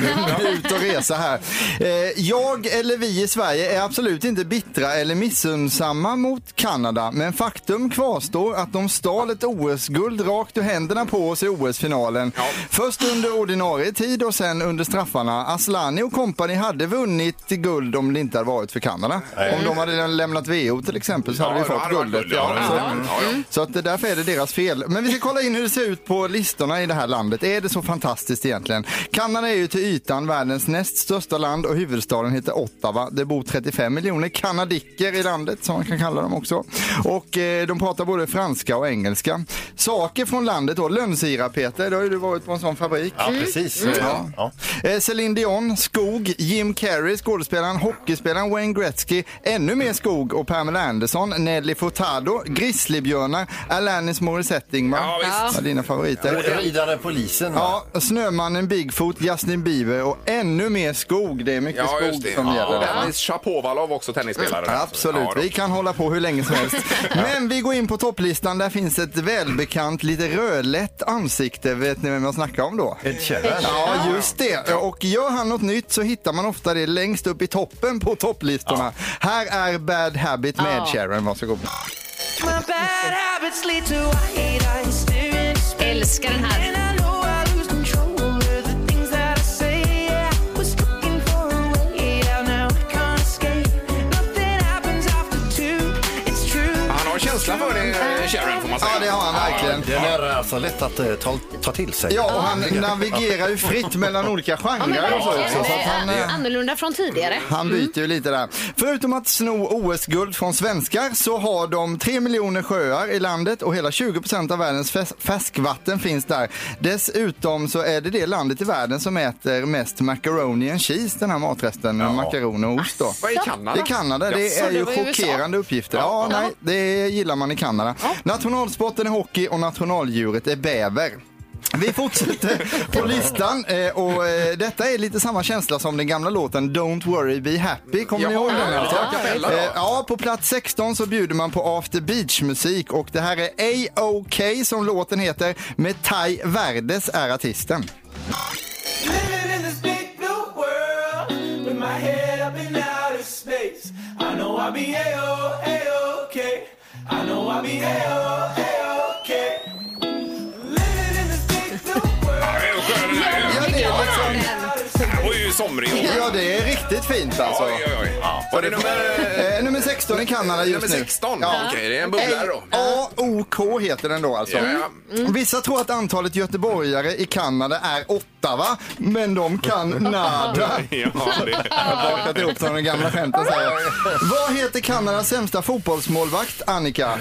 (laughs)
Vi är (laughs) Ut och resa här. Eh, Jag eller vi i Sverige är absolut inte bittra eller missunnsamma mot Kanada, men faktum kvarstår att de stal ett OS-guld rakt ur händerna på oss i OS-finalen. Först under ordinarie tid och sen under straffarna. Aslani och kompani hade vunnit guld om det inte hade varit för Kanada. Om de hade lämnat VO till exempel så hade
Ja,
vi
då
fått
hade det varit
guldet.
guld, ja.
så-
Mm. Ja, ja.
så att det- därför är det deras fel. Men vi ska kolla in hur det ser ut på listorna i det här landet. Är det så fantastiskt egentligen? Kanada är ju till ytan världens näst största land och huvudstaden heter Ottawa. Det bor 35 miljoner kanadicker i landet som man kan kalla dem också. Och eh, de pratar både franska och engelska. Saker från landet då, lönnsirap Peter, då har ju du varit på en sån fabrik.
Ja,
Mm.
precis. Ja. Ja.
Eh, Celine Dion, skog, Jim Carrey, skådespelaren, hockeyspelaren Wayne Gretzky, ännu mer skog och Pamela Anderson, Nelly Furtado, grizzlybjörnar, Alanis Morissette Ingmar.
Ja, visst.
Ja, dina favoriter.
Och Ridare polisen. va?
Ja, Snömannen, Bigfoot, Justin Bieber och ännu mer skog. Det är mycket
Ja, just
skog
det.
som gäller där.
Dennis Shapovalov också tennisspelare.
Absolut,
Ja, då.
vi kan hålla på hur länge
(laughs)
som helst. Men vi går in på topplistan, där finns ett välbekant lite rödlätt ansikte. Vet ni vem jag snackar om då?
Ed Sheeran.
Ja, just det. Och gör han något nytt så hittar man ofta det längst upp i toppen på topplistorna. Här är Bad Habit med Ed Sheeran. Varsågod.
Älskar den här.
Han har känsla för det, eh, Sharon, får man säga.
Ja, det har han verkligen.
Den är alltså lätt att eh, ta, ta till sig.
Ja, och han navigerar ju fritt mellan olika
Ja, men
genrer och så också. Så
verkligen.
att han,
eh,
eh,
Annorlunda från tidigare.
Han byter ju lite där. Förutom att sno OS-guld från svenskar så har de 3 miljoner sjöar i landet och hela 20 procent av världens fäs- färskvatten finns där. Dessutom så är det det landet i världen som äter mest macaroni and cheese, den här matresten, med makaroner och ost då.
Vad är Kanada?
Det är Kanada. Det
Jaså,
är
det
ju
var i USA.
chockerande uppgifter. Ja, nej, det gillar man i Kanada. Nationalsporten är hockey och nationaldjuret är bäver. Vi fortsätter på listan eh, och eh, detta är lite samma känsla som den gamla låten Don't worry be happy. Kommer ni
Ja,
ihåg
det
den?
är
Alltså?
a cappella då.
Eh, Ja, på plats 16 så bjuder man på after beach musik och det här är A.O.K. som låten heter med Tai Verdes är artisten.
Ja, det är ju skön den här ju.
Ja, det är,
Det här var ju somrig.
ja, det är riktigt fint alltså.
Oj, oj, oj. Var det nummer...
Eh, nummer 16 i Kanada just
Nummer
nu.
16? Okej, det är en bubblare då.
AOK heter den då alltså.
Ja, ja.
Vissa tror att antalet göteborgare i Kanada är åtta, va? Men
(laughs)
de kan
(laughs)
nada.
Ja, det... Eh,
Jag har bakat ihop som de gamla skämten säger. Vad heter Kanadas sämsta fotbollsmålvakt, Annika?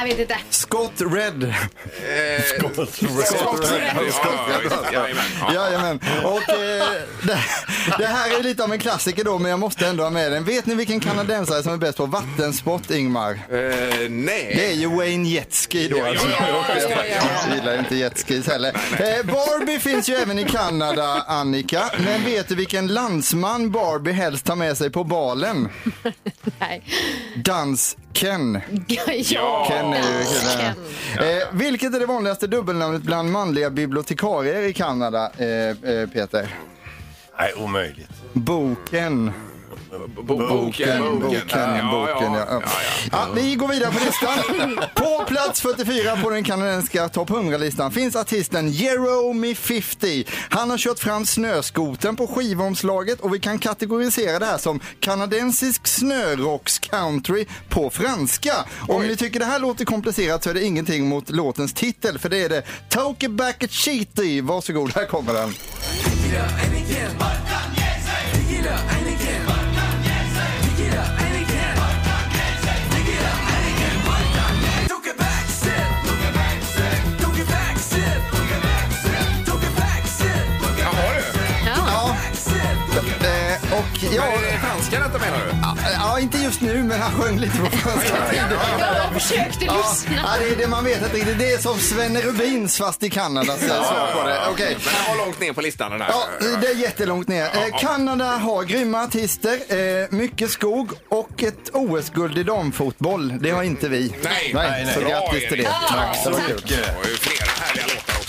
Jag vet inte.
Scott Red.
Scott Red. Ja, ja, ja, jajamän. Ja.
Jajamän. Och, eh, det, det här är lite av en klassiker då, men jag måste ändå ha med den. Vet ni vilken kanadensare som är bäst på vattensport, Ingmar?
Eh,
Det är
Nej.
ju Wayne Jetski då. Alltså. Jag gillar ju inte jetskis heller. Eh, Barbie finns ju även i Kanada, Annika. Men vet du vilken landsman Barbie helst tar med sig på balen?
Nej.
Dans-Ken.
Ja,
Ken är ju
Ken.
eh, Vilket är det vanligaste dubbelnamnet bland manliga bibliotekarier i Kanada, eh, eh, Peter?
Nej, omöjligt.
Boken.
Bo-
Boken, boken, boken,
Ja, ja.
boken. Ja, ja. Ja, vi går vidare på listan. (laughs) På plats 44 på den kanadensiska topp 100-listan finns artisten Jeremy 50. Han har kört fram snöskoten på skivomslaget och vi kan kategorisera det här som kanadensisk snörocks-country på franska. Om ni tycker det här låter komplicerat så är det ingenting mot låtens titel för det är det Toke Back a Cheaty. Varsågod, här kommer den.
Jaha du.
Ja. Eh, Och ja,
Ja, är det franska detta menar du?
ja, inte just nu men han sjöng lite på franska (laughs) tidigare.
Jag försökte lyssna.
Ja, det är det man vet inte riktigt. Det är som Svenne Rubins fast i Kanada. Så jag svarar på det. Okej.
Men den var långt ner på listan den här.
Ja, det är jättelångt ner. Eh, Kanada har grymma artister, eh, mycket skog och ett OS-guld i damfotboll. Det har inte vi.
Nej,
nej, Så
Bra,
grattis till
Erik.
det.
Tack
så mycket.
Det var ju flera härliga låtar också.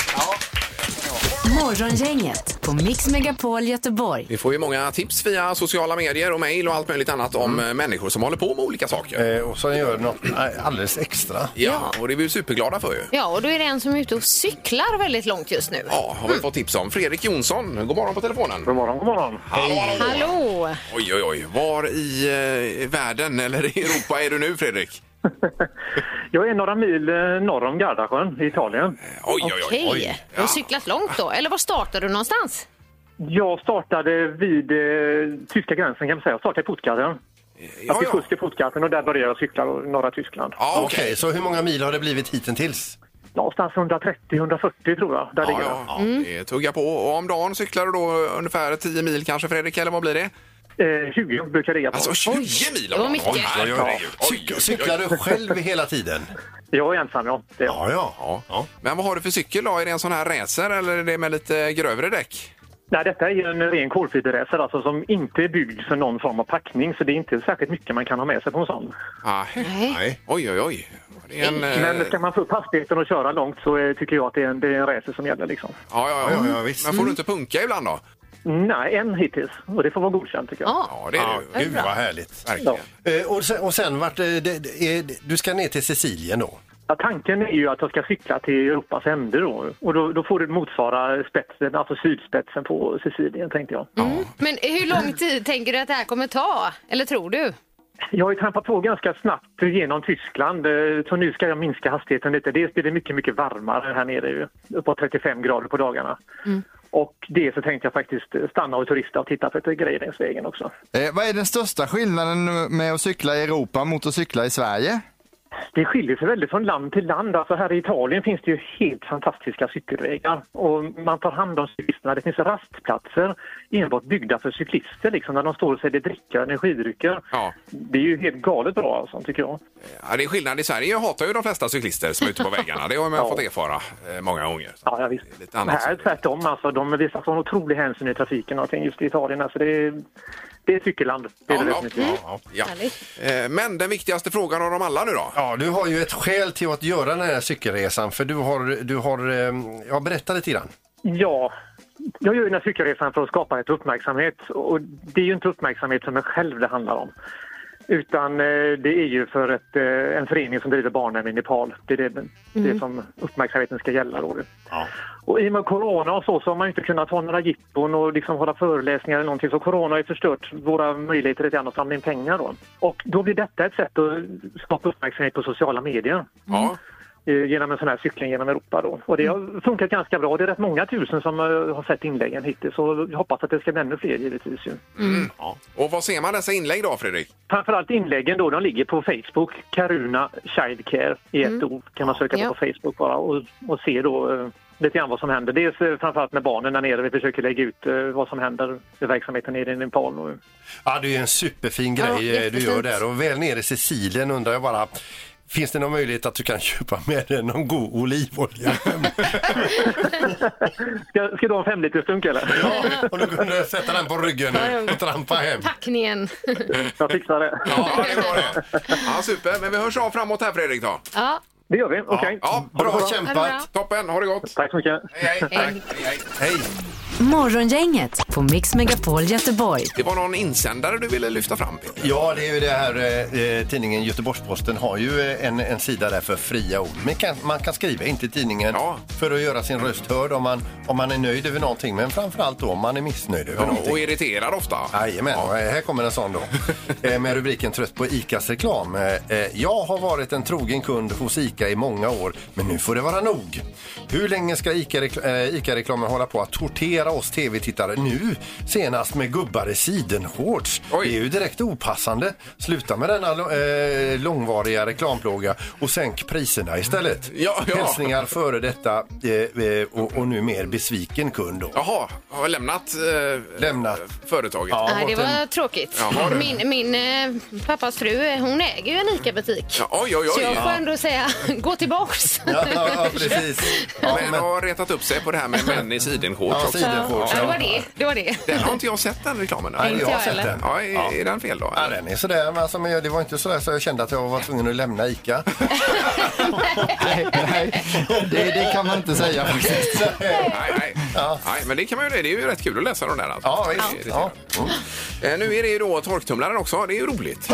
Morgongänget på Mix Megapol Göteborg.
Vi får ju många tips via sociala medier och mejl och allt möjligt annat om
Mm.
eh, människor som håller på med olika saker.
Eh, och som gör något eh, alldeles extra.
Ja, och det är vi ju superglada för ju.
Ja, och då är det en som är ute och cyklar väldigt långt just nu.
Ja, har vi
Mm.
fått tips om. Fredrik Jonsson, god morgon på telefonen.
God morgon, god morgon.
Hallå!
Oj, oj, oj. Var i eh, världen eller i Europa är du nu, Fredrik?
Jag är några mil eh, norr om Gardasjön i Italien.
Oj, oj, oj.
Okej, du
Ja.
har cyklat långt då. Eller var startar du någonstans?
Jag startade vid eh, tyska gränsen kan man säga. Jag startade i Puttgarden. Jag
Ja,
fick
ja.
skjuts till Puttgarden och där började jag cykla i norra Tyskland.
ja
Okej,
okej.
så hur många mil har det blivit hittills?
Någonstans 130-140 tror jag. Där ligger jag.
Ja, ja. Det tuggar på. Och om dagen cyklar du då ungefär 10 mil kanske, Fredrik? Eller vad blir det?
Eh, 20 brukar jag ligga på.
Alltså 20 mil
det var mycket.
Oj, oj, oj, oj, oj,
Cyk-
oj, oj.
Cyklar du själv hela tiden?
Jag är ensam, ja. Det är jag.
Ja, ja.
Ja. Men vad har du för cykel då? Är det en sån här racer eller är det med lite grövre däck?
Nej, detta är ju en ren kolfiberracer alltså, som inte är byggd för någon form av packning så det är inte särskilt mycket man kan ha med sig på en sån.
Ah,
Nej.
Oj, oj, oj. Det är en, eh,
Men ska man få upp hastigheten och köra långt så eh, tycker jag att det är en, det är en racer som gäller. Liksom.
ja, ja, ja,
Ja, ja, visst.
Men får du inte punka ibland då?
Nej, en hittills. Och det får vara godkänt tycker jag.
Ja.
Ja, det är det ju.
Gud vad härligt.
Verkligen.
Eh, och sen, och sen vart, eh, det, det, är, du ska ner till Sicilien då?
Ja, tanken är ju att jag ska cykla till Europas ände då. Och då, då får det motsvara spetsen, alltså sydspetsen på Sicilien tänkte jag.
Mm. Men hur lång tid tänker du att det här kommer ta? Eller tror du?
Jag har ju trampat på ganska snabbt genom Tyskland eh, så nu ska jag minska hastigheten lite. Dels blir det mycket, mycket varmare här nere ju. Uppåt 35 grader på dagarna. Och det så tänkte jag faktiskt stanna och turista och titta på lite grejer längs vägen också.
Eh, vad är den största skillnaden med att cykla i Europa mot att cykla i Sverige?
Det skiljer sig väldigt från land till land. Alltså här i Italien finns det ju helt fantastiska cykelvägar. Och man tar hand om cyklisterna. Det finns rastplatser enbart byggda för cyklister liksom, där de står och säljer dricka och energidrycker.
Ja.
Det är ju helt galet bra alltså, tycker jag.
Ja, det är skillnad. I Sverige hatar ju de flesta cyklister som är ute på vägarna. Det har man fått erfara eh, många gånger.
Ja, ja visst.
Lite annat.
Här tvärtom. Alltså, de visar sån otrolig hänsyn i trafiken och allting just i Italien. Alltså, det, är, det är cykelland. Det är det
Ja,
definitivt.
ja, ja. Eh, Men den viktigaste frågan av dem alla nu då?
Ja, du har ju ett skäl till att göra den här cykelresan för du har, du har, ehm, ja berätta lite grann.
Ja, jag gör ju den här cykelresan för att skapa lite uppmärksamhet. Och det är ju inte uppmärksamhet för mig själv det handlar om. Utan eh, det är ju för ett, eh, en förening som driver barnen i Nepal. Det är det, det som uppmärksamheten ska gälla. Då. Och I och med corona och så, så har man ju inte kunnat ha några jippon och liksom hålla föreläsningar eller någonting. Så corona har ju förstört våra möjligheter lite grann att samla in pengar. Då. Och då blir detta ett sätt att skapa uppmärksamhet på sociala medier
Ja.
eh, genom en sån här cykling genom Europa. Då. Och det har funkat ganska bra. Det är rätt många tusen som eh, har sett inläggen hittills och jag hoppas att det ska bli ännu fler givetvis. Ju.
Mm.
Mm. Och vad ser man dessa inlägg då, Fredrik?
Framförallt inläggen då, de ligger på Facebook. Karuna Childcare i ett ord kan man söka
Ja.
på på Facebook bara och, och se då eh, lite grann vad som händer. Dels eh, framförallt med barnen där nere. Vi försöker lägga ut eh, vad som händer i verksamheten nere i Nepal. nu.
Ja, det är ju en superfin grej
Ja,
eh, du
jättefint.
gör där och väl nere i Sicilien undrar jag bara Finns det någon möjlighet att du kan (laughs) köpa med dig någon god olivolja?
(laughs)
Ska, ska du ha en femlitersdunk eller?
Ja, om du kunde sätta den på ryggen och trampa hem.
Packningen.
Jag fixar det.
Ja, det är bra det. Ja, super. Men vi hörs av framåt här, Fredrik. Då.
Ja,
Det gör vi. Okej.
Ja, bra.
Bra
Ja, det är bra.
kämpat!
Toppen, ha det gott!
Tack så mycket.
Hej, hej.
Hej.
Tack. hej. hej.
Hej!
Morgongänget på Mix Megapol Göteborg.
Det var någon insändare du ville lyfta fram, Peter.
Ja, det är ju det här eh, eh, tidningen Göteborgs-Posten har ju eh, en, en sida där för fria ord. Men kan, man kan skriva in till tidningen
Ja.
för att göra sin röst hörd om man, om man är nöjd över någonting. Men framförallt då om man är missnöjd över
Ja,
någonting.
och irriterad ofta.
Jajamän, och här kommer
(laughs)
en sån då. Eh, Med rubriken Trött på ICAs reklam. Eh, eh, Jag har varit en trogen kund hos ICA i många år, men nu får det vara nog. Hur länge ska ICA-rekl- eh, ICA-reklamen hålla på att tortera oss tv-tittare nu? Senast med gubbar i sidenshorts.
Oj.
Det är ju direkt opassande. Sluta med denna lo- eh, långvariga reklamplåga och sänk priserna istället.
Ja, ja.
Hälsningar före detta eh, eh, och, och nu mer besviken kund. Då.
Jaha, har jag lämnat, eh,
Lämnat.
företaget?
Ja,
Nej, det
åt en-
var tråkigt.
Jaha, du.
Min, min eh, pappas fru, eh, hon äger ju en ICA-butik.
Ja, oj, oj, oj.
Så jag får
Ja.
ändå säga, (laughs) gå tillbaks.
Ja, ja, precis. Ja,
men,
men-
har retat upp sig på det här med män i sidenshorts
Ja,
också.
sidenshorts,
Ja, det var det. det, var det.
Den har inte jag sett, den reklamen.
Nej,
Inte
jag har
jag
sett
heller.
den.
Ja, är, är den fel då?
Ja, den är sådär. Men alltså, men jag- det var inte sådär så jag kände att jag var tvungen att lämna ICA.
Nej, nej. Det, det kan man inte säga faktiskt.
Nej, nej. nej, men det kan man ju det. Det är ju rätt kul att läsa de där. Alltså.
Ja,
Det är
visst.
irriterande. Eh, Nu är det ju då torktumlaren också. Det är ju roligt.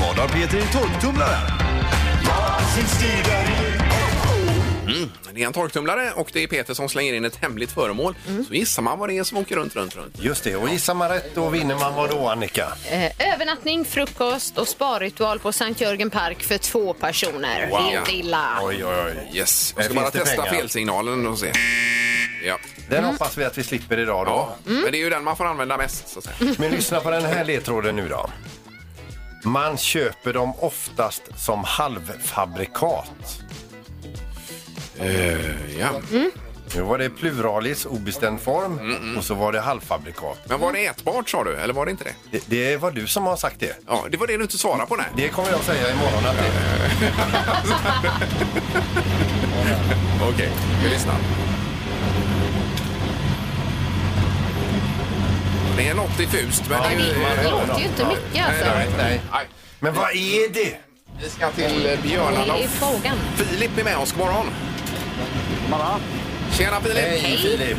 Vad har Peter i torktumlaren?
Mm, Det är en torktumlare och det är Peter som slänger in ett hemligt föremål.
Mm.
Så gissar man vad det är som åker runt, runt, runt.
Just det. Och gissar man rätt då vinner man vad då, Annika?
Eh, Övernattning, frukost och sparritual på Sankt Jörgen Park för två personer.
Wow.
Det är inte illa.
Oj, oj, oj.
Yes. Jag ska
Här finns
bara
det
testa
pengar.
felsignalen och se. Ja.
Den hoppas vi att vi slipper idag då.
ja. Men det är ju den man får använda mest. Så att säga.
Men lyssna på den här ledtråden nu då. Man köper dem oftast som halvfabrikat.
Eh, ja.
Nu var det pluralis, obestämd form, och så var det halvfabrikat.
Men var det ätbart sa du, eller var det inte det?
Det, det var du som har sagt det.
Ja, det var det du inte svarade på, nej.
Det kommer jag säga imorgon att det
Okej, vi lyssnar. Det är något diffust, men det är ju...
Det låter ju inte mycket alltså.
Nej, nej. nej.
Men vad är det?
Vi ska till eh, Björnarna.
Det är frågan.
Filip är med oss. God morgon! Tjena Filip!
Hej, Filip.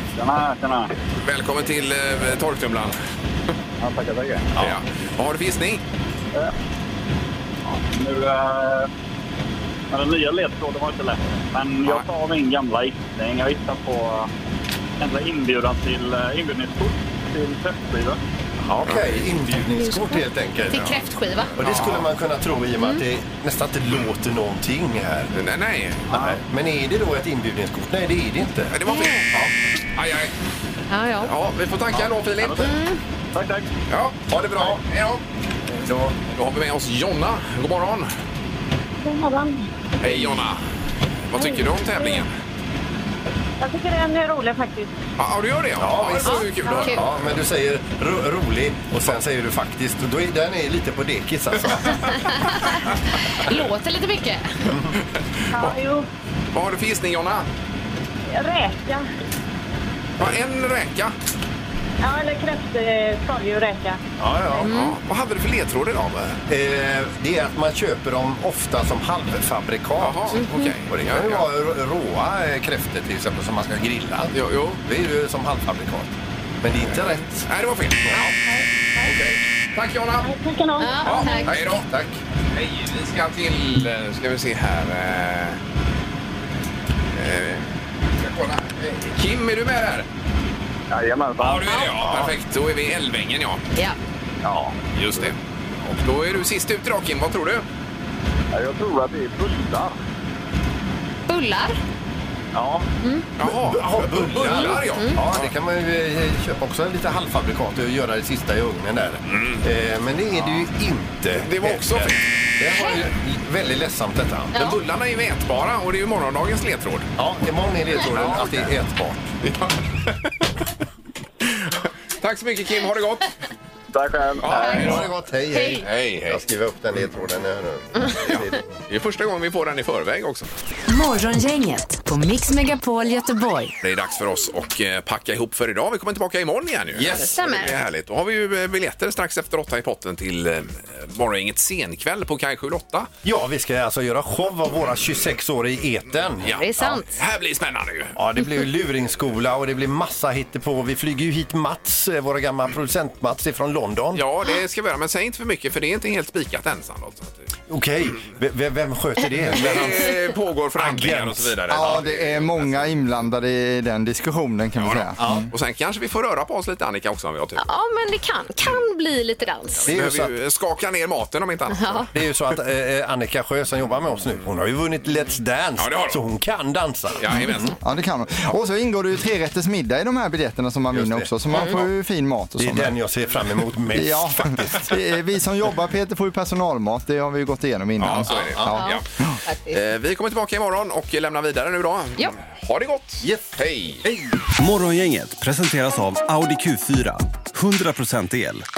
Välkommen till eh, torktumlaren. Ja, tackar, tackar. Ja. Vad Har du för gissning?
Nu, eh, men den nya ledtråden var inte lätt. Men
Nej.
jag tar min gamla gissning. Jag gissar på eh, en sån här inbjudan till eh, inbjudningskort till testskiva.
Okej, inbjudningskort helt enkelt.
Till kräftskiva.
Och det skulle man kunna tro i och med att det nästan inte låter någonting här.
Nej, nej.
Men är det då ett inbjudningskort? Nej, det är det inte.
Men Det var fel. Ja. Aj, aj.
Ja, ja.
Ja, vi får tacka ändå Filip.
Tack, tack.
Ja, ha det bra. Hej då. Då har vi med oss Jonna. God morgon.
God morgon.
Hej Jonna. Vad tycker du om tävlingen?
Jag tycker den är rolig faktiskt.
Ja, du gör det? Ja, det var ju kul att höra.
Ja, men du säger ro rolig och sen säger du faktiskt. Då är, den är lite på dekis alltså.
Låter lite mycket.
Ja, jo.
Vad har du för gissning Jonna?
Räka.
Ja, en räka.
Ja, eller kräft, skaldjur, räka.
Ja, ja.
Ja, vad hade du för ledtråd idag?
Eh, det är att man köper dem ofta som halvfabrikat. Mm-hmm.
Jaha, okej.
Och det kan ju vara rå- råa eh, kräftor till exempel som man ska grilla.
Jo, jo.
Det är ju som halvfabrikat. Men det är inte rätt.
Nej, det var fel. Ja. Okej. Tack Jonna.
Tack ska ni ha.
Ja,
Ja,
tack.
hej då.
Tack.
Nej, vi ska till... eh, ska vi se här. eh, eh, ska kolla. Eh, Kim, är du med där?
Jajamensan.
Ja, du är det. Ja, perfekt. Då är vi i Älvängen, ja.
Ja.
Ja.
Just det. Och då är du sist ut idag, Kim. Vad tror du?
Jag tror att det är bullar.
Bullar.
Ja.
Jaha, bullar, mm. ja.
Ja, det kan man ju eh, köpa också lite halvfabrikat och göra det sista i ugnen där. Eh, men det är det ju inte.
Mm. Det var också fel.
Det var ju väldigt ledsamt detta.
Men bullarna är ju ätbara och det är ju morgondagens ledtråd.
Ja, imorgon är ledtråden att det är ätbart.
Tack så mycket, Kim. Ha det gott!
Tack själv.
Hej
Ha det gott, hej hej.
Hej, hej.
Jag skriver upp den ledtråden här nu.
Det är första gången vi får den i förväg också.
Morgongänget på Mix Megapol Göteborg.
Det är dags för oss att eh, packa ihop för idag. Vi kommer tillbaka imorgon igen. Ju.
Yes. Stämmer.
Det är härligt. Då har vi ju eh, biljetter strax efter åtta i potten till eh, Morgongänget senkväll på Kaj 8.
Ja, vi ska alltså göra show av våra 26 år i etern.
Ja.
Det är sant.
Det här blir spännande ju.
Ja, det blir ju luringskola och det blir massa hittepå. Vi flyger ju hit Mats, eh, våra gamla producent Mats ifrån London.
Ja, det ska vi göra. Men säg inte för mycket för det är inte helt spikat än sannolikt. Så att det-
Okej, v- v- vem sköter det? Vem han-
Det pågår förankringar och så vidare.
Ja, det är många inblandade i den diskussionen kan vi säga.
Ja. Och sen kanske vi får röra på oss lite Annika också om vi har tur.
Ja, men det kan, kan bli lite dans.
Det är ju så
Behöver
att,
ju skaka ner maten om inte annat.
det är ju så att eh, eh, Annika Sjö som jobbar med oss nu, hon har ju vunnit Let's Dance.
Ja, det har hon.
så hon kan dansa.
Jajamensan.
Ja, det kan man. Och så ingår det ju tre rätters middag i de här biljetterna som man
Just
vinner
det.
också. Så man får ju fin mat och
Det är
sånt.
den jag ser fram emot mest
Ja,
faktiskt.
(laughs) vi- vi som jobbar Peter får ju personalmat, det har vi ju gått igenom innan.
Ja, så är det.
Ja.
Ja. Eh, Vi kommer tillbaka imorgon och lämnar vidare nu då.
Ja.
Ha det gott! Hej!
Morgongänget presenteras av Audi Q4. 100% el